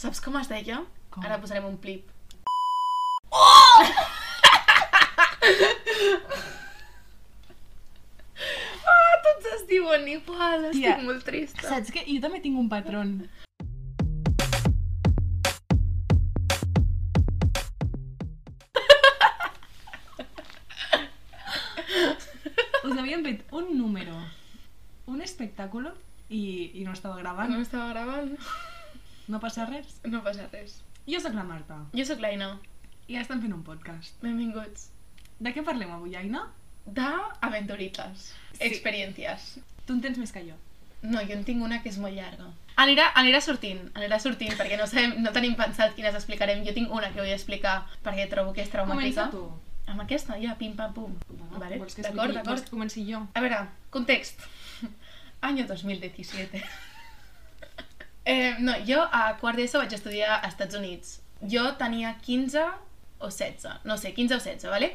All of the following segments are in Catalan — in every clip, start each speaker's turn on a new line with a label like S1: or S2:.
S1: Saps com es deia?
S2: Com?
S1: Ara posarem un clip. Oh! ah, tots es diuen igual, estic
S2: Tia,
S1: molt trista.
S2: Saps que jo també tinc un patró. Us havien fet un número, un espectáculo i, i no estava
S1: No
S2: gravant.
S1: estava gravant?
S2: No passa res.
S1: No passa res.
S2: Jo sóc la Marta
S1: Jo sóc l'Aina.
S2: i estem fent un podcast.
S1: Benvinguts.
S2: De què parlem avui, Aina?
S1: De aventuritas.
S2: Sí.
S1: Experiències.
S2: Tu en tens més que jo.
S1: No, jo en tinc una que és molt llarga. Anirà, anirà sortint, anirà sortint, perquè no, sabem, no tenim pensat quines explicarem. Jo tinc una que vull explicar perquè trobo que és traumàtica.
S2: Comença tu.
S1: Amb aquesta, ja, pim-pam-pum. Vale,
S2: Vols
S1: d'acord,
S2: que expliqui-
S1: d'acord.
S2: Vols que comenci jo?
S1: A ver, context. Año 2017. eh, no, jo a quart d'ESO vaig estudiar a Estats Units. Jo tenia 15 o 16, no sé, 15 o 16, ¿vale?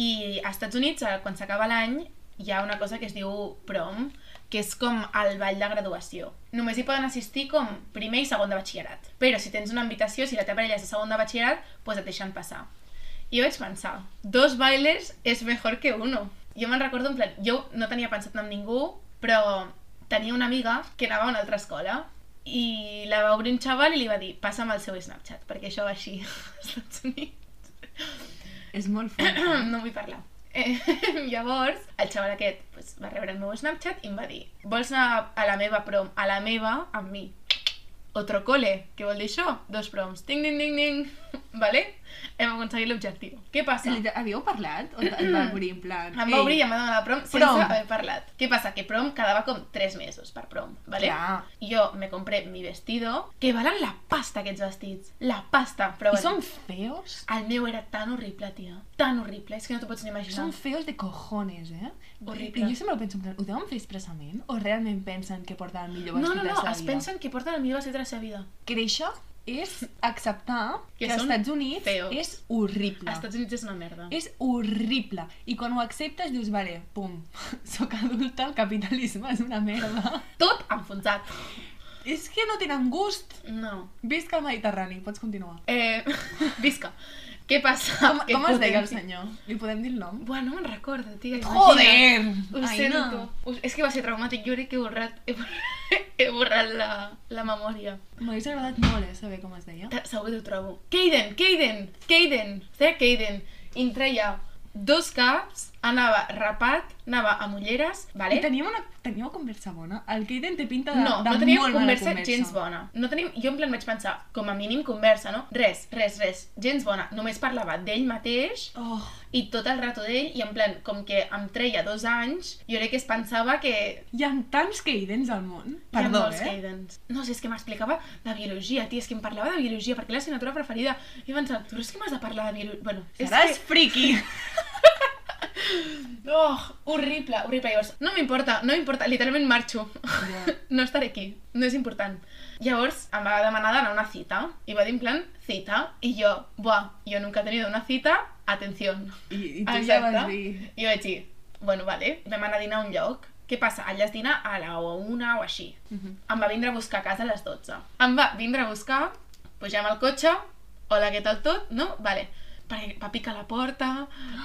S1: I a Estats Units, eh, quan s'acaba l'any, hi ha una cosa que es diu prom, que és com el ball de graduació. Només hi poden assistir com primer i segon de batxillerat. Però si tens una invitació, si la teva parella és de segon de batxillerat, doncs et deixen passar. I jo vaig pensar, dos bailes és mejor que uno. Jo me'n recordo, en plan, jo no tenia pensat anar amb ningú, però tenia una amiga que anava a una altra escola i la va obrir un xaval i li va dir passa'm el seu Snapchat, perquè això va així als Estats Units
S2: És molt fort.
S1: no vull parlar. Eh, llavors, el xaval aquest pues, va rebre el meu Snapchat i em va dir vols anar a la meva prom, a la meva, amb mi. Otro cole, què vol dir això? Dos proms. Ding, ding, ding, ding. Vale? Hem aconseguit l'objectiu. Què passa?
S2: Li- Havíeu parlat? O et va obrir en plan...
S1: Em
S2: "Ei,
S1: va obrir i em va demanar prom sense
S2: Prom.
S1: haver parlat. Què passa? Que prom quedava com 3 mesos per prom, ¿vale?
S2: Clar.
S1: Jo me compré mi vestido, que valen la pasta aquests vestits. La pasta, però
S2: I
S1: bueno.
S2: són feos?
S1: El meu era tan horrible, tia. Tan horrible, és que no t'ho pots ni imaginar.
S2: Són feos de cojones, eh?
S1: Horrible.
S2: I jo sempre ho penso, en plan, ho deuen fer expressament? O realment pensen que porten el millor
S1: No,
S2: vestit
S1: no,
S2: de
S1: no,
S2: la seva
S1: es
S2: vida?
S1: pensen que porten el millor vestit de la seva vida.
S2: Créixer és acceptar
S1: Que
S2: que, als
S1: són
S2: Estats Units
S1: feos.
S2: és horrible.
S1: Als Estats Units és una merda.
S2: És horrible. I quan ho acceptes dius, vale, pum, sóc adulta, el capitalisme és una merda.
S1: Tot enfonsat.
S2: és que no tenen gust.
S1: No.
S2: Visca el Mediterrani, pots continuar.
S1: Eh, visca. Què passa?
S2: Com,
S1: Ah, Que
S2: com es deia el
S1: potenci-
S2: senyor? Li podem dir el nom?
S1: Bueno, no me'n recordo, tia. imagina't.
S2: Joder!
S1: Ho Ai, sento. No. Us, és que va ser traumàtic. Jo crec que he borrat, he borrat, he borrat la, la memòria.
S2: M'hagués agradat molt eh, saber com es deia.
S1: Ta- Segur que ho trobo. Caden, Caden, Caden. Feia Caden. I em treia dos caps, anava rapat, anava amb ulleres,
S2: I
S1: vale?
S2: teníem una, teníeu conversa bona? El Caden té pinta de,
S1: No,
S2: de
S1: no teníem
S2: molt
S1: conversa,
S2: mala conversa
S1: gens bona. No tenim, jo en plan vaig pensar, com a mínim conversa, no? Res, res, res, gens bona. Només parlava d'ell mateix
S2: Oh,
S1: i tot el rato d'ell i en plan, com que em treia dos anys, jo crec que es pensava que...
S2: hi ha tants Cadens al món.
S1: hi ha
S2: Perdó,
S1: molts
S2: eh?
S1: Cadens. No sé, és que m'explicava de biologia, tia, és que em parlava de biologia, perquè és l'assignatura preferida. I vaig pensar, tu és que m'has de parlar de biologia... Bueno, és
S2: Seràs friqui.
S1: que... Oh, horrible, horrible. Llavors, no m'importa, no m'importa, literalment marxo. no estaré aquí, no és important. Llavors em va demanar d'anar a una cita i va dir en plan cita i jo, buah, jo nunca he tenido una cita, atención.
S2: I, I tu ja vas dir...
S1: I jo vaig dir, bueno, vale, vam anar a dinar a un lloc. Què passa? Allà es dina a la o a una o així.
S2: Mhm.
S1: Em va vindre a buscar a casa a les 12. Em va vindre a buscar, pugem al cotxe, hola, què tal tot, no? Vale. Perquè va picar a la porta,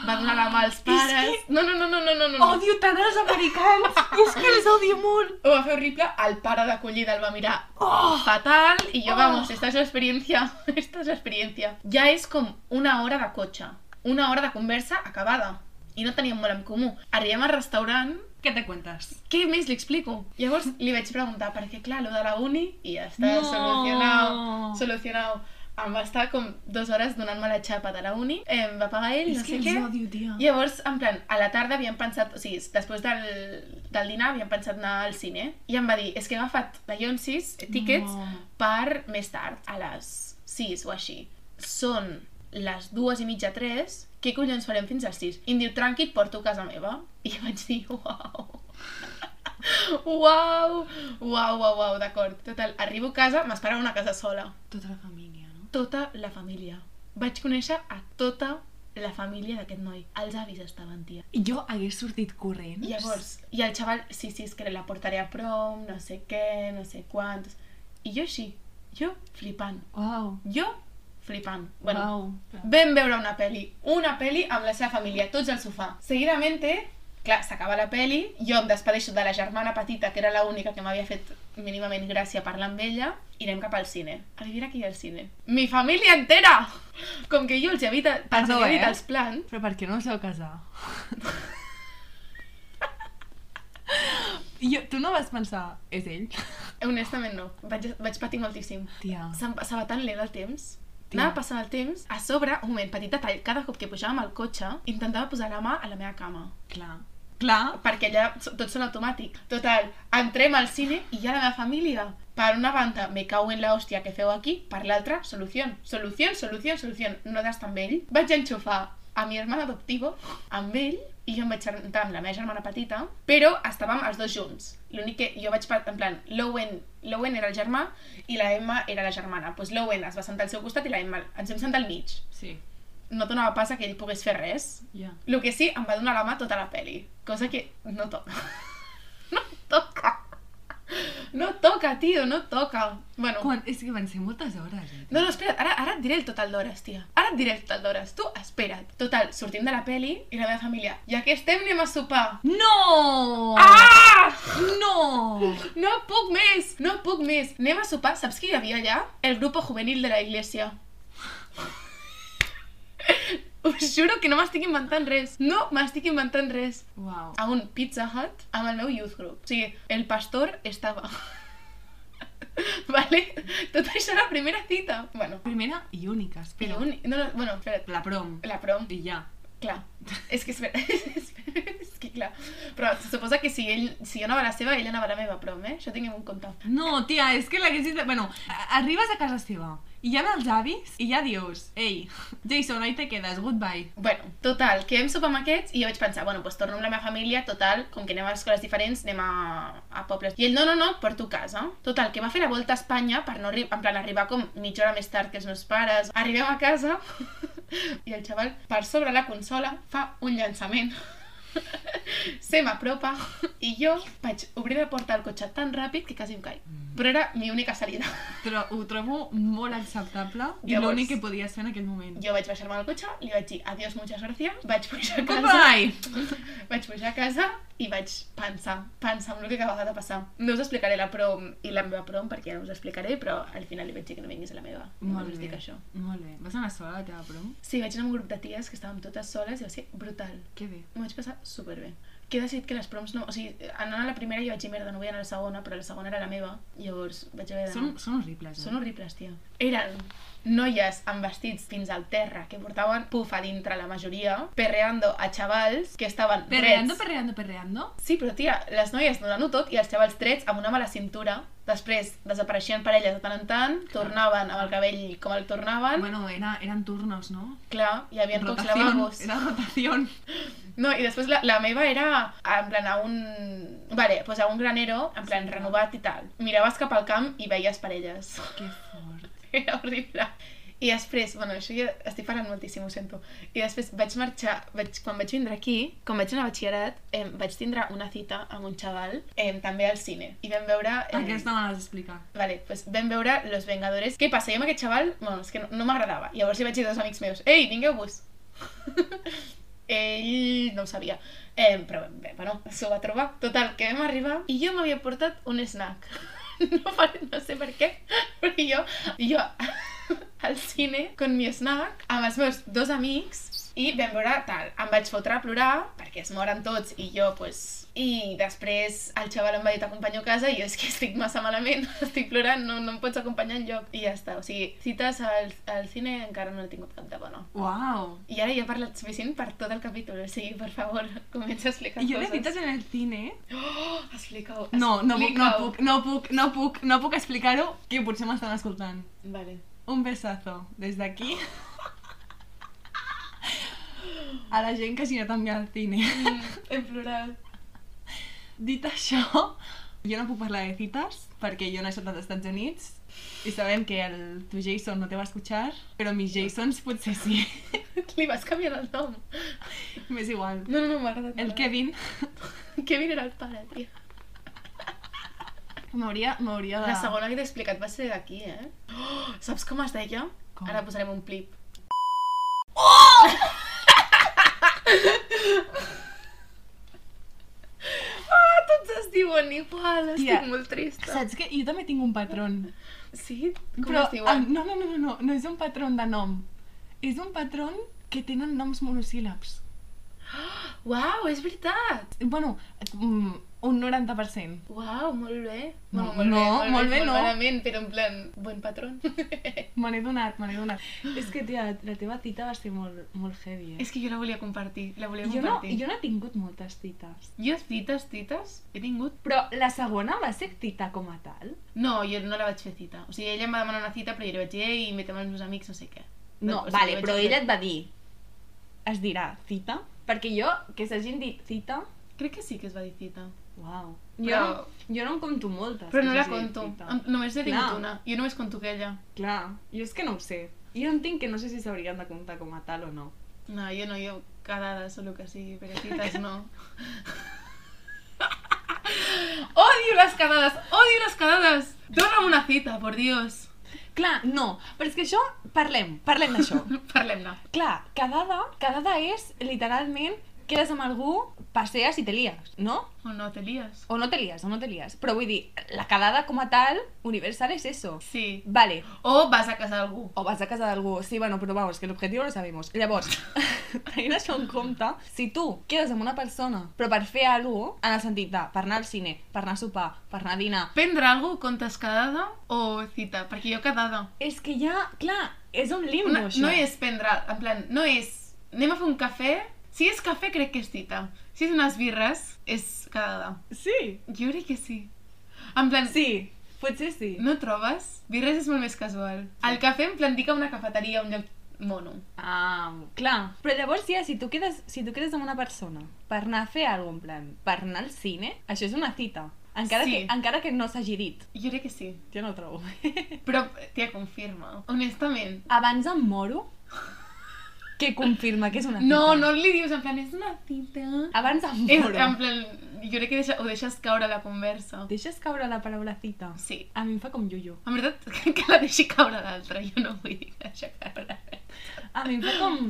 S1: va donar la mà als
S2: que-
S1: pares... No, no, no, no, no, no, no.
S2: Odio tant els americans! és que els odio molt!
S1: Ho va fer horrible, el pare d'acollida el va mirar
S2: Oh!
S1: fatal y yo,
S2: Oh.
S1: vamos, esta es la experiencia, esta es la experiencia. Ya es com una hora de cotxe, una hora de conversa acabada. I no teníem molt en comú. Arribem al restaurant,
S2: Què te cuentes?
S1: què més li explico? Llavors li vaig preguntar, perquè clar, lo de la uni i ja està, no. solucionado, solucionado. Em va estar com dues hores donant-me la xapa de la uni, em va pagar ell,
S2: és
S1: no sé
S2: que els
S1: què.
S2: odio, tia.
S1: Llavors, en plan, a la tarda havíem pensat, o sigui, després del, del dinar havíem pensat anar al cine i em va dir, és que he agafat la Yonsis, tickets,
S2: No.
S1: per més tard, a les 6 o així. Són les dues i mitja, 3, què collons farem fins a les 6? I em diu, tranqui, et porto a casa meva. I vaig dir, uau. Uau, uau, uau, uau, d'acord. Total, arribo a casa, m'esperava una casa sola
S2: Tota la família, no?
S1: tota la família. Vaig conèixer a tota la família d'aquest noi. Els avis estaven, tia.
S2: Jo hagués sortit corrents.
S1: I llavors, i el xaval, sí, sí, és que la portaré a prom, no sé què, no sé quants... I jo així, Jo flipant.
S2: Uau.
S1: Jo flipant. Bueno,
S2: Uau.
S1: Vam veure una peli, una peli amb la seva família, tots al sofà. Seguidament, clar, s'acaba la peli, jo em despedeixo de la germana petita, que era l'única que m'havia fet mínimament gràcia parlar amb ella, i anem cap al cine. A veure qui hi ha al cine. Mi família entera! Com que jo els he dit, els
S2: Perdó,
S1: havia dit
S2: eh?
S1: els plans,
S2: Però per què no us vau casar? jo, tu no vas pensar, és ell?
S1: honestament no, vaig, vaig patir moltíssim.
S2: Tia.
S1: Se'm passava tan lent el temps.
S2: Tia.
S1: Anava passant el temps, a sobre, un moment, petit detall, cada cop que pujàvem al cotxe, intentava posar la mà a la meva cama.
S2: Clar. Clar.
S1: perquè allà so- tot són automàtic. Total, entrem al cine i ja la meva família. Per una banda, me cau en la hòstia que feu aquí, per l'altra, solució. Solució, solució, solució. Nosaltres també ell. Vaig enxufar a mi hermana adoptivo amb ell i jo em vaig sentar amb la meva germana petita, però estàvem els dos junts. L'únic que jo vaig part, en plan, l'Owen, l'Owen era el germà i la Emma era la germana. Doncs pues l'Owen es va sentar al seu costat i la Emma ens vam sentar al mig.
S2: Sí,
S1: No donava pas a que ell pogués fer res,
S2: ja.
S1: el que sí, em va donar la mà tota la peli. Cosa que no toca. No toca. No toca, tio, no toca. Bueno,
S2: Quan, és que van ser moltes hores, eh?
S1: no, no, espera't, ara, ara et diré el total d'hores, tia. Ara et diré el total d'hores. Tu, espera't. Total, sortim de la peli i la meva família, ja que estem, anem a sopar.
S2: No!
S1: Ah!
S2: No!
S1: No puc més! No puc més! Anem a sopar. Saps qui hi havia allà? El grup juvenil de la iglesia. Us juro que no m'estic inventant res. No m'estic inventant res.
S2: Uau.
S1: a un Pizza Hut amb el meu youth group. O sigui, el pastor estava... vale? Tot això a la primera cita. Bueno,
S2: Primera i única,
S1: però...
S2: espero.
S1: Un... No, no, bueno, espera't.
S2: La prom.
S1: La prom,
S2: I ja.
S1: clar. És que espera, espera, és que clar. Però se suposa que si, ell, si jo anava a la seva, ell anava a la meva prom, eh? Això tinguem en compte.
S2: No, tia, és que l'haguessis... De... Bueno, a- arribes a casa seva i ja ve els avis i ja dius Ei, Jason, ahí te quedes, goodbye.
S1: Bueno, total, que vam sopar amb aquests i jo vaig pensar, bueno, doncs torno amb la meva família, total, com que anem a escoles diferents, anem a, a pobles. I ell, no, no, no, et porto a casa. Total, que va fer la volta a Espanya per no arri- en plan, arribar com mitja hora més tard que els meus pares. Arribem a casa i el xaval, per sobre la consola, fa un llançament. Se m'apropa i jo vaig obrir la porta del cotxe tan ràpid que quasi em caic. Però era mi única salida.
S2: Però ho uh, trobo molt acceptable i
S1: Llavors-
S2: l'únic que podies fer en aquell moment.
S1: Jo vaig baixar-me del cotxe, li vaig dir adiós, muchas gracias, vaig pujar a casa.
S2: Goodbye!
S1: Vaig pujar a casa i vaig pensar, pensar en el que acabava de passar. No us explicaré la prom i la meva prom perquè ja us ho explicaré, però al final li vaig dir que no vinguis a la meva. No us dic això.
S2: Molt bé. Vas anar sola a la teva prom?
S1: Sí, vaig anar amb un grup de ties que estàvem totes soles i va ser brutal.
S2: Que bé.
S1: M'ho vaig passar superbé. Que he decidit que les proms no... O sigui, anant a la primera jo vaig dir, merda, no vull anar a la segona, però la segona era la meva. Llavors vaig haver d'anar...
S2: Són, són horribles, eh?
S1: Són horribles, tia. Eren noies amb vestits fins al terra que portaven pufa dintre la majoria, perreando a xavals que estaven
S2: Perreando,
S1: drets.
S2: perreando, perreando.
S1: Sí, però tia, les noies donant-ho tot i els xavals trets amb una mala cintura. Després desapareixien parelles de tant en tant, tornaven amb el cabell com el tornaven. Bueno.
S2: Bueno, era, eren turnos, ¿no?
S1: Clar, hi havia pocs
S2: Rotación.
S1: lavabos.
S2: Era rotación.
S1: No, i després la, la meva era en plan a un... Vale, pues a un granero, en plan
S2: Sí.
S1: renovat i tal. Miraves cap al camp i veies parelles.
S2: Qué fort.
S1: Era horrible. I després, bueno, això ja estic parlant moltíssim, ho sento. I després vaig marxar, vaig, quan vaig vindre aquí, quan vaig anar a batxillerat, eh, vaig tindre una cita amb un xaval, eh, també al cine. I vam veure... Eh,
S2: Aquesta me l'has d'explicar.
S1: Vale, pues vam veure Los Vengadores. Què passa? Jo amb aquest xaval, bueno, és que no, no m'agradava. Llavors li vaig dir a dos amics meus, ei, vingueu-vos. Ell no ho sabia. Eh, però bé, bueno, s'ho va trobar. Total, que vam arribar i jo m'havia portat un snack. No, per- no sé per què, però jo, jo al cine, con mi snack, amb els meus dos amics, i vam veure tal, em vaig fotre a plorar, perquè es moren tots, i jo, pues... I després el xaval em va dir t'acompanyo a casa, i jo és que estic massa malament, estic plorant, no, no em pots acompanyar enlloc. I ja està, o sigui, cites al, al cine encara no he tingut cap de bona.
S2: Wow.
S1: I ara ja he parlat suficient per tot el capítol, o sigui, per favor, comença a explicar
S2: I jo de
S1: coses.
S2: cites en el cine...
S1: Oh, explica-ho,
S2: No, no puc, no
S1: explica-ho.
S2: puc, no puc, no puc, no puc explicar-ho, que potser m'estan escoltant.
S1: Vale.
S2: Un besazo, des d'aquí. A la gent que s'hi ha també al cine.
S1: Mm, en plural.
S2: Dit això, jo no puc parlar de cites, perquè jo no he estat als Estats Units i sabem que el tu Jason no te va escuchar, però mis Jasons potser sí.
S1: Li vas canviar el nom.
S2: M'és igual.
S1: No, no, no m'ha agradat.
S2: El
S1: nada.
S2: Kevin,
S1: Kevin era el pare, tia.
S2: M'hauria m'hauria de...
S1: La segona que t'he explicat va ser d'aquí, eh? Oh, saps com es deia?
S2: Com?
S1: Ara posarem un clip. Oh! ah, tots es diuen igual, estic
S2: Tia,
S1: molt trista.
S2: Saps que jo també tinc un patró.
S1: Sí? Com
S2: Però,
S1: es diuen?
S2: ah, no, no, no, no, no, no és un patró de nom. És un patró que tenen noms monosíl·labs.
S1: Uau, és veritat!
S2: Bueno, mm, un 90%.
S1: Uau, molt bé.
S2: No,
S1: Bueno,
S2: no, molt bé
S1: molt
S2: no.
S1: malament, però en plan, bon patró.
S2: Me n'he donat, me n'he donat. És que, tia, la teva tita va ser molt, molt heavy, eh?
S1: és que jo la volia compartir, la volia
S2: Jo no,
S1: compartir.
S2: jo no he tingut moltes tites.
S1: Jo cites, tites, he tingut...
S2: Però la segona va ser tita com a tal?
S1: No, jo no la vaig fer cita. O sigui, ella em va demanar una cita, però jo li vaig dir, ei, metem els meus amics, no sé què.
S2: No,
S1: O sigui,
S2: vale,
S1: vaig
S2: però
S1: fer-
S2: ella et va dir es dirà cita? Perquè jo, que s'hagin dit cita,
S1: Crec que sí que es va dir cita.
S2: uau. Jo,
S1: Però-
S2: però... jo no em compto moltes.
S1: Però no
S2: que
S1: la
S2: s'hagin dit
S1: conto.
S2: cita.
S1: Em- Només he tingut
S2: Clar.
S1: una. Jo només conto aquella.
S2: Clar, jo és que no ho sé. Jo entenc que no sé si s'haurien de comptar com a tal o no.
S1: No, jo no, jo quedades o el que sigui, però cites no. odio les quedades, odio les quedades. Dóna'm una cita, por Dios.
S2: Clar, no, però és que això, parlem, parlem d'això.
S1: Parlem-ne.
S2: Clar, quedada, quedada és literalment quedes amb algú, passees i te lies, no?
S1: O no, te lías.
S2: O no te lies, o no te lies. Però vull dir, la quedada com a tal, universal és eso.
S1: Sí.
S2: Vale,
S1: O vas a casa d'algú.
S2: o vas a casa d'algú, sí, bueno, però vamos, que l'objectiu lo sabemos. Llavors, tenint això en compte, si tu quedes amb una persona, però per fer alguna cosa, en el sentit de per anar al cine, per anar a sopar, per anar a dinar,
S1: Prendre algú comptes quedada o cita, perquè jo quedada.
S2: és que ja, clar, és un limbo,
S1: Una,
S2: això.
S1: no és prendre, en plan, no és... Anem a fer un cafè? Si és cafè, crec que és tita. Si és unes birres, és quedada.
S2: Sí,
S1: Jo crec que sí. En plan, sí.
S2: sí, potser sí.
S1: no trobes? Birres és molt més casual. El cafè, en plan, dic a una cafeteria, a un lloc mono.
S2: Ah, clar. Però llavors ja, si tu quedes, si tu quedes amb una persona per anar a fer alguna cosa, en plan, per anar al cine, això és una cita. Encara,
S1: Sí.
S2: que, encara que no s'hagi dit.
S1: Jo crec que sí.
S2: Jo no ho trobo.
S1: Però, tia, confirma. Honestament.
S2: Abans em moro que confirma que és una cita.
S1: No, no li dius, en plan, és una cita.
S2: Abans em
S1: És,
S2: moro.
S1: en plan, jo crec que deixa, ho deixes caure la conversa.
S2: Deixes caure la paraula cita?
S1: Sí.
S2: A mi em fa com yuyu.
S1: En veritat, que la deixi caure l'altra. Jo no vull deixar caure
S2: A mi em fa com...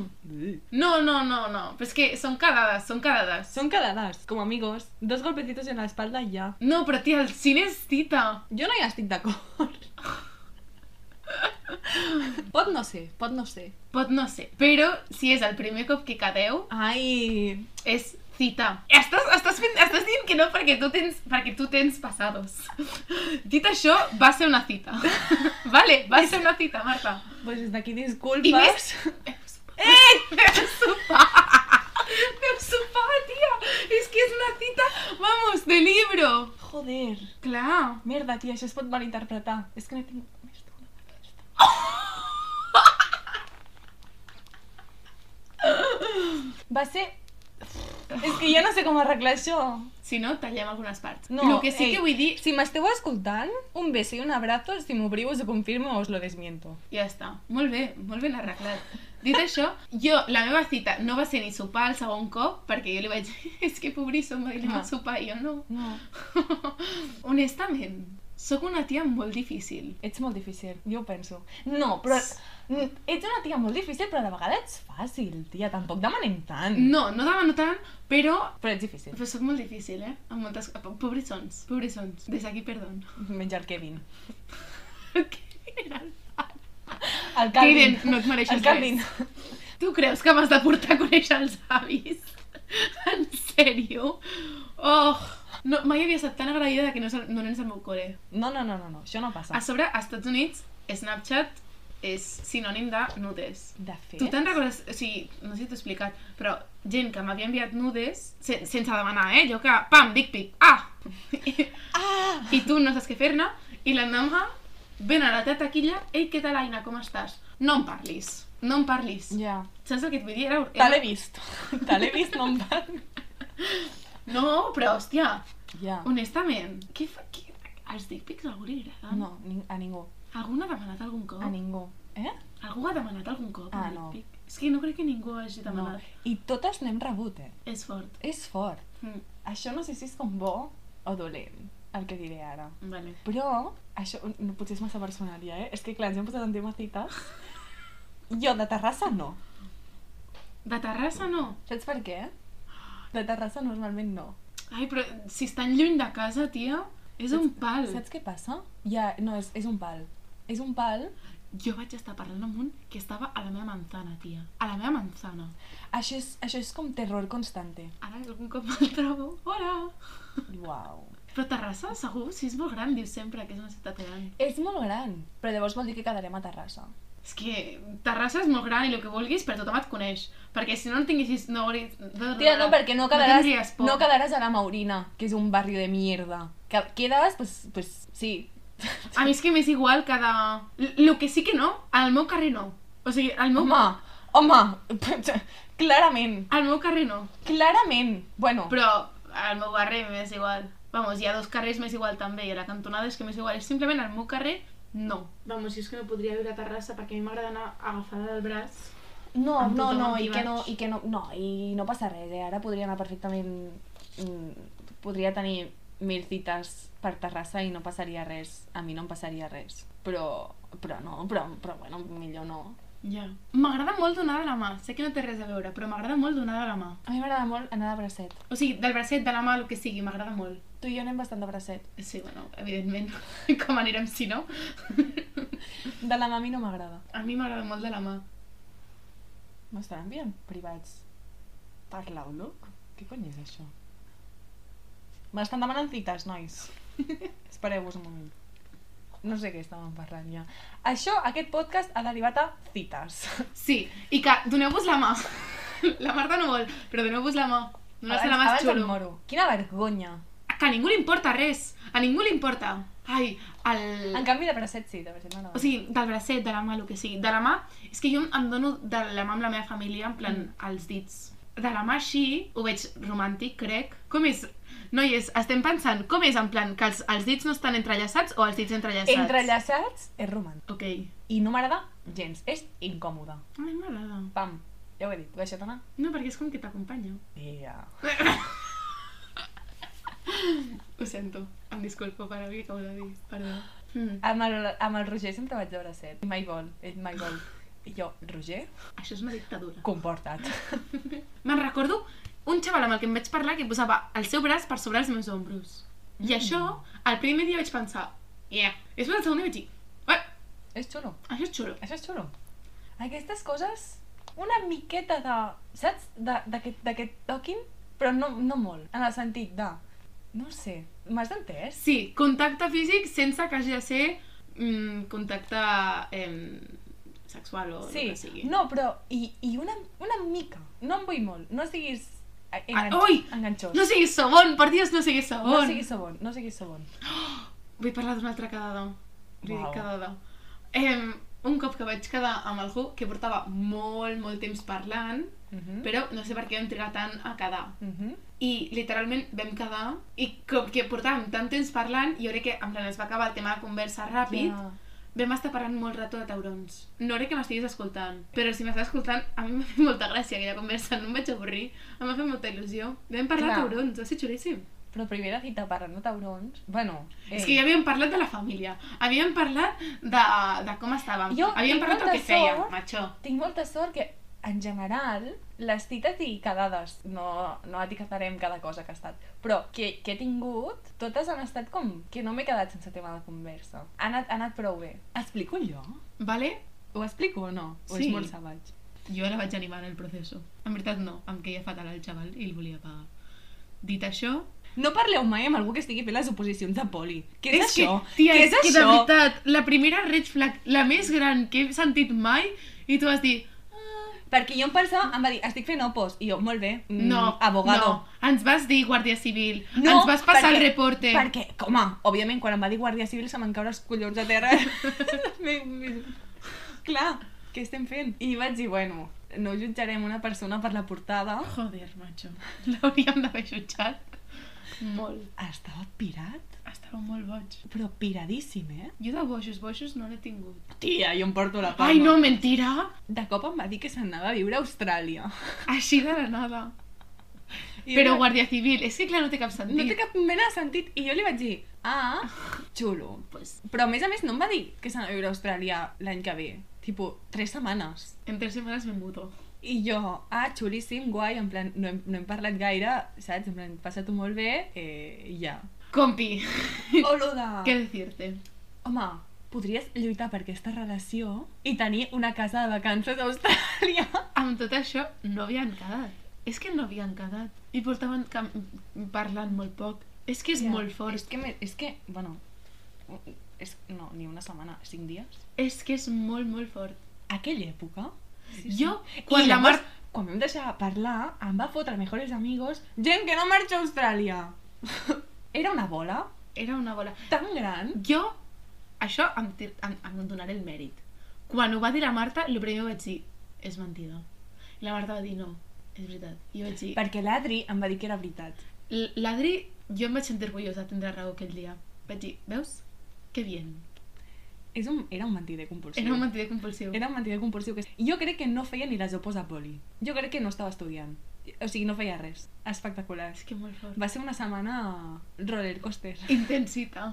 S1: No, no, no, no. Però és que són quedades, són quedades.
S2: Són quedades, com amigos. Dos golpecitos en l'espalda i ja.
S1: No, però tia, el cine és tita.
S2: Jo no hi estic d'acord. pot no ser, pot no ser.
S1: Pot Pues no sé. Però si és el primer cop que quedeu,
S2: Ai,
S1: és cita. Estàs, estàs, fent, estàs dient que no perquè tu tens, perquè tu tens passados. Dit això, va ser una cita. vale, va ser una cita, Marta.
S2: Pues des d'aquí
S1: I
S2: disculpes.
S1: més... Eh! Vam sopar! Vam sopar, tia! És que és una cita, vamos, de libro!
S2: Joder.
S1: Clar.
S2: Merda, tia, això es pot malinterpretar. És que no tinc més d'una d'aquesta. Va ser... És que ja no sé com arreglar això.
S1: Si no, tallem algunes parts.
S2: No,
S1: el que sí
S2: ei.
S1: que vull dir...
S2: Si m'esteu escoltant, un beso i un abrazo, si m'obriu us ho confirmo o us lo desmiento.
S1: Ja està. Molt bé, molt ben arreglat. Dit això, jo, la meva cita no va ser ni sopar el segon cop, perquè jo li vaig dir, és que pobríssim, em va dir, anem a
S2: Ah.
S1: sopar, i jo no.
S2: No,
S1: Honestament, sóc una tia molt difícil.
S2: ets molt difícil, jo ho penso. No, però... n- Ets una tia molt difícil, però de vegades ets fàcil, tia. Tampoc demanem tant.
S1: No, no demano tant, però...
S2: Però ets difícil.
S1: Però sóc molt difícil, eh? Amb moltes... Pobrissons, pobrissons. Des d'aquí, perdó.
S2: Menys el Kevin. El
S1: Kevin, no et mereixes
S2: El Calvin.
S1: Tu creus que m'has de portar a conèixer els avis? En sèrio? Oh, no, mai havia estat tan agraïda de que no, és el, no nens al meu col·le.
S2: No, no, no, no, no, això no passa.
S1: A sobre, als Estats Units, Snapchat és sinònim de nudes.
S2: De fet...
S1: Tu te'n recordes, o sigui, no sé si t'ho he explicat, però gent que m'havia enviat nudes, sen sense demanar, eh? Jo que, pam, dic pic, ah! I,
S2: Ah!
S1: i tu no saps què fer-ne, i la nana ven a la teva taquilla, ei, què tal, Aina, com estàs? No em parlis, no em parlis.
S2: Ja.
S1: Saps el que et vull dir? Era,
S2: Te
S1: era...
S2: l'he vist. Te l'he vist, no em van.
S1: No, però, hòstia,
S2: Ja.
S1: honestament, què fa... Què... Els dickpics a algú li agraden?
S2: No, ni a ningú.
S1: Algú n'ha demanat algun cop?
S2: A ningú. Eh?
S1: Algú ha demanat algun cop
S2: Ah,
S1: un
S2: no.
S1: dickpic? És que no crec que ningú hagi
S2: No.
S1: demanat.
S2: I totes n'hem rebut, eh?
S1: És fort.
S2: És fort.
S1: Mm.
S2: Això no sé si és com bo o dolent. el que diré ara.
S1: Vale.
S2: Però, això no, potser és massa personal ja, eh? És que, clar, ens hem posat en tema cites. Jo, de Terrassa, no.
S1: De Terrassa no.
S2: Saps per què? De Terrassa normalment no.
S1: Ai, però si estan lluny de casa, tia, és un pal.
S2: Saps què passa? Ja, no, és, és un pal. És un pal.
S1: Jo vaig estar parlant amb un que estava a la meva manzana, tia. A la meva manzana.
S2: Això és, això és com terror constante.
S1: Ara algun cop me'l trobo. Hola!
S2: Uau.
S1: Però Terrassa, segur, si és molt gran, dius sempre que és una ciutat gran.
S2: És molt gran, però llavors vol dir que quedarem a Terrassa.
S1: És que Terrassa és molt gran i el que vulguis, però tothom et coneix. Perquè si no en tinguessis... No, hauries-
S2: Tia, no, perquè no quedaràs,
S1: tindries por.
S2: no quedaràs a la Maurina, que és un barri de mierda. Que quedes, pues, pues sí.
S1: A mi és que m'és igual cada... El que sí que no, al meu carrer no. O sigui, al meu,
S2: Home, home, clarament,
S1: al meu carrer no.
S2: clarament. Bueno,
S1: Però al meu carrer m'és igual. Vamos, hi ha dos carrers m'és igual també, i a la cantonada és que m'és igual. És simplement al meu carrer, no. Vamos, si és que no podria viure a Terrassa perquè a mi m'agrada anar agafada del braç.
S2: No,
S1: Amb
S2: no,
S1: tothom
S2: no,
S1: aquí
S2: i que no,
S1: vaig.
S2: i que no, no, i no passa res, eh? Ara podria anar perfectament... mm, Podria tenir mil cites per Terrassa i no passaria res. A mi no em passaria res. Però, però no, però, però bueno, millor no.
S1: Ja. M'agrada molt donar de la mà. Sé que no té res a veure, però m'agrada molt donar de la mà.
S2: A mi m'agrada molt anar de bracet.
S1: O sigui, del bracet, de la mà, el que sigui, m'agrada molt.
S2: Tu i jo anem bastant de bracet.
S1: Sí, bueno, evidentment, com anirem si no.
S2: De la mà a mi no m'agrada.
S1: A mi m'agrada molt de la mà.
S2: M'estan enviant privats per l'Outlook? Què cony és això? M'estan demanant cites, nois. Espereu-vos un moment. No sé què estàvem parlant ja. Això, aquest podcast ha derivat a cites.
S1: Sí, i que doneu-vos la mà. La Marta no vol, però doneu-vos la mà. Donar-se la mà és
S2: abans em
S1: xulo. Mm.
S2: moro. Quina vergonya.
S1: Que a ningú li importa res. A ningú li importa. Ai, el...
S2: En canvi, de bracet sí, de bracet m'agrada.
S1: O sigui, del bracet, de la mà, el que sigui. De la mà, és que jo em dono de la mà amb la meva família, en plan,
S2: Mm.
S1: els dits. De la mà així, ho veig romàntic, crec. Com és... Noies, estem pensant, com és en plan que els, els dits no estan entrellaçats o els dits entrellaçats?
S2: Entrellaçats és romàntic.
S1: Ok. Ai,
S2: I no m'agrada gens. És incòmode.
S1: m'agrada.
S2: Pam. Ja ho he dit. Deixa't anar.
S1: No, perquè és com que t'acompanyo.
S2: Yeah.
S1: Ho sento. Em disculpo per avui que ho he de dir. Perdó. Mm.
S2: Amb el, amb el Roger sempre vaig de bracet. Mai vol. Ell mai vol. I jo, Roger,
S1: Això és una dictadura.
S2: comporta't.
S1: Me'n recordo un xaval amb el que em vaig parlar que posava el seu braç per sobre els meus ombros. I això, el primer dia vaig pensar, yeah. I després el segon dia vaig dir, "Ué,
S2: És xulo.
S1: això és xulo.
S2: Això és xulo. Aquestes coses, una miqueta de... Saps? De- D'aquest d'aquest toquin, però no, no molt. En el sentit de... No ho sé. M'has entès?
S1: Sí, contacte físic sense que hagi de ser mm, contacte eh, sexual o el
S2: Sí.
S1: que sigui.
S2: No, però... I, i una, una mica. No em vull molt. No siguis eh, engan
S1: Ah, ui!
S2: enganxós.
S1: No siguis sabon, per Dios, no siguis sabon.
S2: no siguis sabon. No siguis sabon.
S1: Vull parlar d'un altre quedador. Li
S2: Uau.
S1: dic quedador. Eh, un cop que vaig quedar amb algú que portava molt, molt temps parlant,
S2: Mhm.
S1: però no sé per què vam trigar tant a quedar.
S2: Mhm.
S1: I literalment vam quedar i com que portàvem tant temps parlant, jo crec que en plan es va acabar el tema de conversa ràpid,
S2: Ja.
S1: vam estar parlant molt rato de taurons. No crec que m'estiguis escoltant, però si m'estàs escoltant, a mi m'ha fet molta gràcia aquella conversa, no em vaig avorrir, em va fer molta il·lusió. Vam parlar de
S2: Clar.
S1: taurons, va ser xulíssim.
S2: Però primera cita parlant de taurons... Bueno... eh,
S1: És
S2: ei.
S1: que ja havíem parlat de la família, havíem parlat de, de com estàvem,
S2: Jo
S1: havíem
S2: tinc
S1: parlat del que
S2: molta
S1: fèiem,
S2: sort.
S1: macho.
S2: Tinc molta sort que, en general, les tites i quedades, no, no etiquetarem cada cosa que ha estat, però que, que he tingut, totes han estat com que no m'he quedat sense tema de conversa. Ha anat, ha anat prou bé. Explico jo?
S1: Vale?
S2: Ho explico o no? O
S1: Sí.
S2: és molt sabatge?
S1: Jo la vaig animar en el procés. En veritat no, em queia fatal el xaval i el volia pagar. Dit això,
S2: No parleu mai amb algú que estigui fent les oposicions de poli. Què és,
S1: És que,
S2: això?
S1: tia,
S2: Què
S1: és, que de veritat, la primera red flag, la més gran que he sentit mai, i tu vas dir,
S2: Perquè jo em pensava, em va dir, estic fent opos. I jo, molt bé, mm,
S1: no,
S2: abogado.
S1: no, ens vas dir Guàrdia Civil, ens vas passar el reporte.
S2: Perquè, home, òbviament, quan em va dir Guàrdia Civil se me'n caure els collons a terra. Me- me- Clar, què estem fent? I vaig dir, bueno, no jutjarem una persona per la portada.
S1: Joder, macho, l'hauríem d'haver jutjat. Molt.
S2: Estava pirat,
S1: Estava molt boig.
S2: però piradíssim, eh?
S1: Jo de bojos, bojos no n'he tingut.
S2: Tia, jo em porto la palma.
S1: Ai, no, mentira!
S2: De cop em va dir que se'n anava a viure a Austràlia.
S1: Així de la nada.
S2: I
S1: Però
S2: jo-
S1: Guàrdia Civil, és que clar, no té cap sentit.
S2: No té cap mena de sentit. I jo li vaig dir, ah, xulo.
S1: Pues,
S2: Però a més a més no em va dir que s'anava a viure a Austràlia l'any que ve. Tipo, tres setmanes.
S1: en tres setmanes me mudo.
S2: I jo, ah, xulíssim, guai, en plan, no hem, no hem parlat gaire, saps? En plan, passa-t'ho molt bé, eh, i ja.
S1: Compi,
S2: O lo de...
S1: què decirte?
S2: Home, podries lluitar per aquesta relació i tenir una casa de vacances a Austràlia.
S1: Amb tot això no havien quedat. És que no havien quedat. I portaven cam- parlant molt poc. És que és
S2: Ja,
S1: molt fort.
S2: És que, me- és que bueno, és, no, ni una setmana, cinc dies.
S1: És que és molt, molt fort.
S2: Aquella època...
S1: Jo, quan
S2: I
S1: la Mar...
S2: llavors, Quan vam deixar de parlar, em va fotre mejores amigos gent que no marxa a Austràlia. Era una bola
S1: Era una bola.
S2: tan gran.
S1: Jo, això em, tir- em, em donaré el mèrit. Quan ho va dir la Marta, el primer vaig dir, és mentida. I la Marta va dir, no, és veritat. I jo vaig dir,
S2: Perquè l'Adri em va dir que era veritat.
S1: "L- l'Adri, jo em vaig sentir orgullosa de tindre raó aquell dia. Vaig dir, veus? Que bien.
S2: És un, era un mentider compulsiu.
S1: Era un mentider compulsiu.
S2: era un mentider compulsiu. Que... Jo crec que no feia ni les opos a poli. Jo crec que no estava estudiant. O sigui, no feia res. Espectacular.
S1: És que molt fort.
S2: Va ser una setmana roller coaster.
S1: Intensita.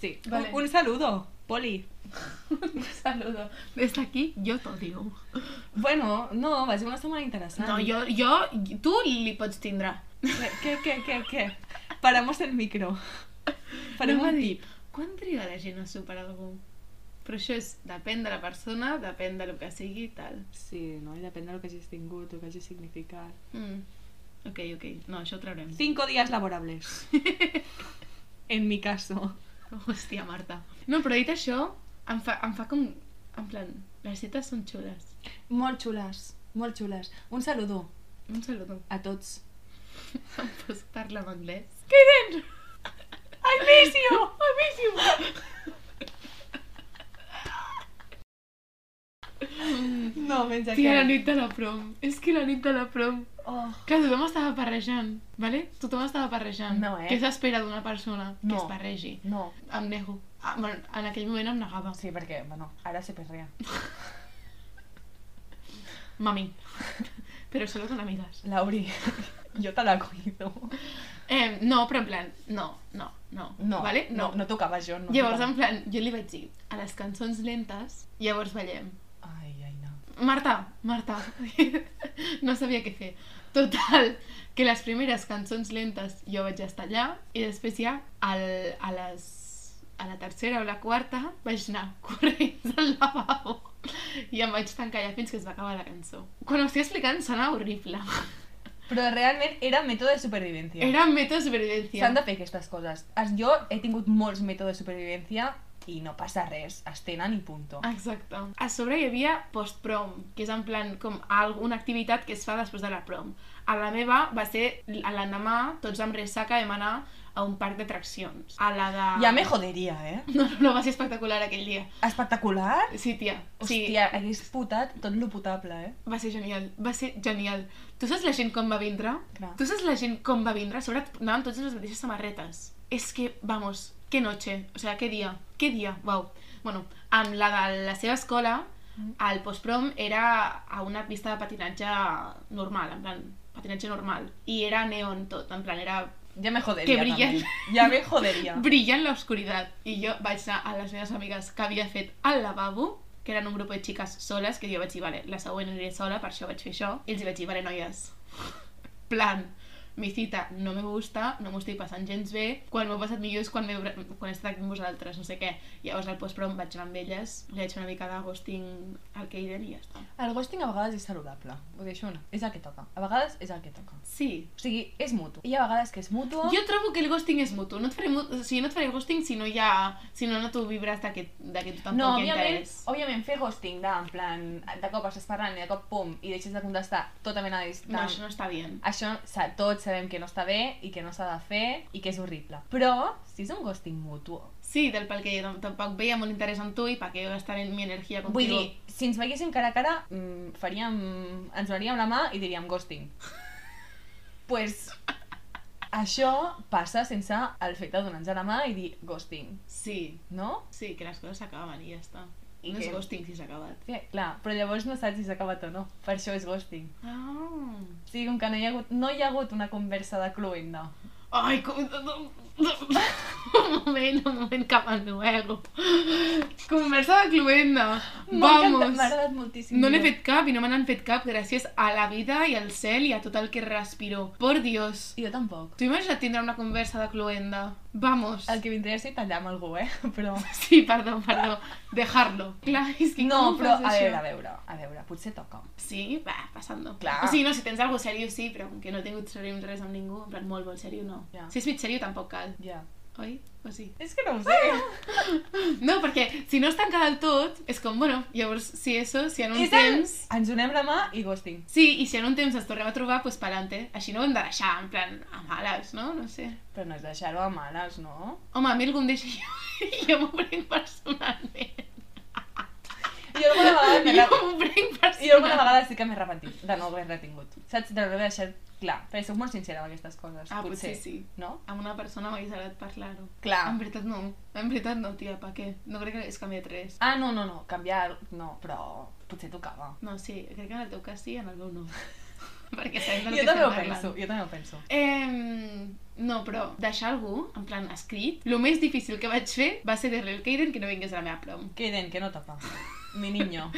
S2: Sí.
S1: Vale.
S2: Un, un saludo, Poli.
S1: Un saludo. Des d'aquí, jo t'odio.
S2: Bueno, no, va ser una setmana interessant.
S1: No, jo, jo, tu li pots tindre.
S2: Què, què, què, què? Paramos el micro. Farem
S1: Anava a
S2: un
S1: dir,
S2: tip.
S1: Quan triga la gent a superar algú? Però això és, depèn de la persona, depèn del que sigui, tal.
S2: Sí, no? I depèn del que hagis tingut, el que hagis significat.
S1: Mm. Ok, ok. No, això ho traurem.
S2: Cinco dies laborables. en mi caso.
S1: Hòstia, Marta. No, però dit això, em fa, em fa com... En plan, les cites són xules.
S2: Molt xules, molt xules. Un saludo
S1: Un saludo.
S2: a tots.
S1: Em pots parlar en anglès?
S2: Queden! I miss you! I miss you! No, menys
S1: Tia, la nit de la prom. És que la nit de la prom...
S2: Oh.
S1: Clar, tothom estava parrejant, vale? Tothom estava parrejant.
S2: No, eh?
S1: Què s'espera d'una persona
S2: No.
S1: que es parregi?
S2: No,
S1: Em nego. Ah, bueno, en aquell moment em negava.
S2: sí, perquè, bueno, ara se perrea.
S1: Mami. però solo con amigas.
S2: Lauri, jo te la cuido.
S1: Eh, no, però en plan, no, no, no.
S2: No,
S1: vale?
S2: no, no tocava jo. No
S1: Llavors,
S2: tocava.
S1: en plan, jo li vaig dir, a les cançons lentes, llavors ballem.
S2: Ai, ai, no.
S1: Marta, Marta, no sabia què fer. Total, que les primeres cançons lentes jo vaig estar allà i després ja al, a les a la tercera o la quarta vaig anar corrents al lavabo i em vaig tancar allà fins que es va acabar la cançó. Quan ho estic explicant sona horrible.
S2: Però realment era mètode de supervivència.
S1: Era un mètode de supervivència.
S2: S'han de fer aquestes coses. Es- Jo he tingut molts mètodes de supervivència i no passa res, es tenen i punto.
S1: Exacte. A sobre hi havia post-prom, que és en plan com alguna activitat que es fa després de la prom. A la meva va ser a l'endemà, tots amb ressaca vam anar a un parc d'atraccions. A la de...
S2: Ja me joderia, eh?
S1: No, no, no, va ser espectacular aquell dia.
S2: Espectacular?
S1: Sí, tia. Sí,
S2: Hòstia, hagués putat tot lo putable, eh?
S1: va ser genial. Va ser genial. Tu saps la gent com va vindre?
S2: Clar.
S1: Tu saps la gent com va vindre? A sobre anàvem tots amb les mateixes samarretes. És que, vamos, que noche. O sea, que dia. Que dia. Wow. Bueno, amb la de la seva escola, el postprom era a una pista de patinatge normal, en plan, patinatge normal. I era neon tot, en plan, era
S2: Ja me joderia,
S1: Que brillen.
S2: també. Ja me joderia.
S1: brilla en l'oscuritat. I jo vaig anar a les meves amigues que havia fet al lavabo, que eren un grup de xiques soles, que jo vaig dir, vale, la següent aniré sola, per això vaig fer això. I els hi vaig dir, vale, noies, plan, mi cita no me gusta, no m'ho estic passant gens bé, quan m'ho he passat millor és quan, m'he- quan he estat aquí amb vosaltres, no sé què. Llavors al postprom vaig anar amb elles, li vaig fer una mica de ghosting al Keiden i ja està.
S2: El ghosting a vegades és saludable, ho deixo anar. És el que toca. A vegades és el que toca.
S1: Sí,
S2: O sigui, és mutu. Hi ha vegades que és mutu.
S1: Jo trobo que el ghosting és mutu. No et faré, mu- o sigui, no et faré ghosting si no, hi ha, si no, no tu vibres de que, de que tu tampoc
S2: No,
S1: hi ha
S2: òbviament,
S1: interès.
S2: òbviament fer ghosting de, en plan, de cop estàs parlant i de cop pum, i deixes de contestar tota mena de...
S1: No, això no està bé.
S2: Això sa- tots sabem que no està bé i que no s'ha de fer i que és horrible. Però, si és un ghosting mutu,
S1: Sí, del pel que jo tam- tampoc veia molt interès en tu i per què gastar en mi energia contigo.
S2: vull dir, si ens veiéssim cara a cara, mm, faríem, ens donaríem la mà i diríem ghosting. pues, això passa sense el fet de donar-nos la mà i dir ghosting,
S1: Sí,
S2: no?
S1: sí, que les coses s'acaben i ja està. I
S2: I
S1: no és
S2: què?
S1: ghosting si s'ha acabat.
S2: Sí, clar, però llavors no saps si s'ha acabat o no. Per això és ghosting.
S1: Ah.
S2: O sigui, com que no hi ha hagut, no hi ha hagut una conversa de cluent, no.
S1: Ai, com... Un moment, un moment cap ennuego. Conversa de cluenda.
S2: M'ha encantat,
S1: Vamos.
S2: M'ha agradat moltíssim.
S1: No n'he fet cap i no me n'han fet cap gràcies a la vida i al cel i a tot el que respiro. Por Dios.
S2: Jo tampoc.
S1: T'ho imagina't tindre una conversa de cluenda? Vamos.
S2: El que vindria és si tallar amb algú, eh? Però...
S1: Sí, perdó, perdó. Dejarlo. Clar, és que
S2: No,
S1: com
S2: però
S1: fas
S2: a
S1: això?
S2: veure, a veure, a veure, potser toca.
S1: Sí, va, passant-ho.
S2: Clar.
S1: O sigui, no, si tens algo seriós sí, però com que no he tingut seriós res amb ningú, en plan molt, molt seriós no.
S2: Ja.
S1: Si és mig seriós tampoc cal,
S2: Ja.
S1: oi? O sí?
S2: És que no ho sé.
S1: Ah! No, perquè si no es tanca del tot, és com, bueno, llavors, si eso, si en un
S2: És el...
S1: temps...
S2: Ens donem la mà i ghosting.
S1: Sí, i si en un temps ens tornem a trobar, pues pa'lante. Així no ho hem de deixar, en plan, a males, no? No sé.
S2: Però no és deixar-ho a males, no?
S1: Home, a mi algú em deixa i jo, i jo m'ho prenc personalment.
S2: Jo alguna vegada m'he
S1: Jo m'ho prenc personalment.
S2: Jo alguna vegada sí que m'he repentit de no haver-la tingut. Saps? De no haver deixat clar. Perquè soc molt sincera amb aquestes coses.
S1: Ah, potser sí.
S2: No?
S1: Amb una persona m'hagués agradat parlar-ho.
S2: Clar.
S1: En veritat no. En veritat no, tia, per què? No crec que hagués canviat res.
S2: Ah, no, no, no. Canviar... No, però potser tocava.
S1: No, sí, crec que en el teu cas sí, en el meu no. Perquè sabem del
S2: jo
S1: que
S2: també ho
S1: estem parlant.
S2: penso, jo també ho penso.
S1: Eh, no, però deixar algú, en plan escrit, el més difícil que vaig fer va ser dir-li al Caden que no vingués a la meva prom.
S2: Queden, que no toca. Mi niño.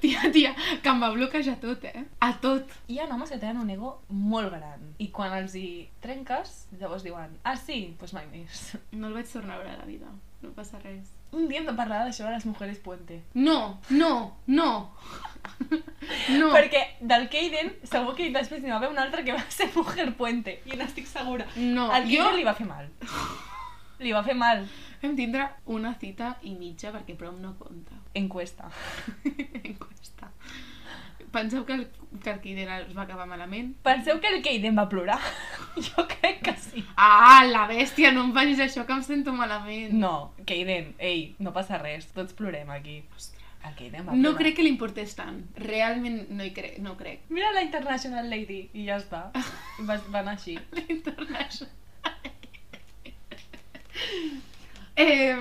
S1: Tia, tia, que em va bloquejar tot, eh? A tot.
S2: Hi ha homes que tenen un ego molt gran i quan els hi trenques, llavors diuen ah sí, doncs pues mai més.
S1: No el vaig tornar a veure a la vida. No passa res.
S2: Un dia hem de parlar d'això de les mujeres puente.
S1: No, no, no. No.
S2: Perquè del Caden segur que després n'hi va haver un altre que va ser mujer puente i n'estic segura.
S1: No,
S2: Al
S1: jo-
S2: Caden li va fer mal. Li va fer mal.
S1: Vam tindre una cita i mitja perquè prom no compta.
S2: Encuesta.
S1: Encuesta. Penseu que el, que el Kiden es va acabar malament?
S2: Penseu que el Caden va plorar? Jo crec que sí.
S1: Ah, la bèstia, no em facis això que em sento malament.
S2: No, Caden, ei, no passa res, tots plorem aquí. El Caden va
S1: No,
S2: plorar.
S1: crec que li importés tant. Realment no hi crec, no crec.
S2: Mira la International Lady i ja està. Va, va anar així.
S1: International. eh,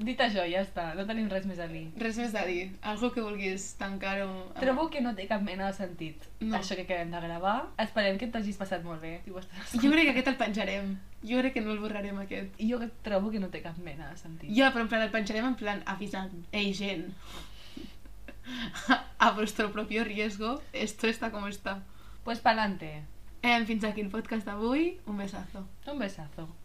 S2: Dit això, ja està. No tenim res més a dir.
S1: res més a dir. Algo que vulguis tancar o...
S2: Trobo que no té cap mena de sentit
S1: No.
S2: no. això que acabem de gravar. Esperem que t'hagis passat molt bé. Si ho estàs
S1: Jo crec que aquest el penjarem. Jo crec que no el borrarem, aquest.
S2: escoltant. jo trobo que no té cap mena de sentit.
S1: Ja, però en plan, el penjarem en plan avisant. Ei, gent, a vostre propio riesgo, esto está como está.
S2: Pues pa'lante.
S1: Eh, fins aquí el podcast d'avui. Un besazo.
S2: Un besazo.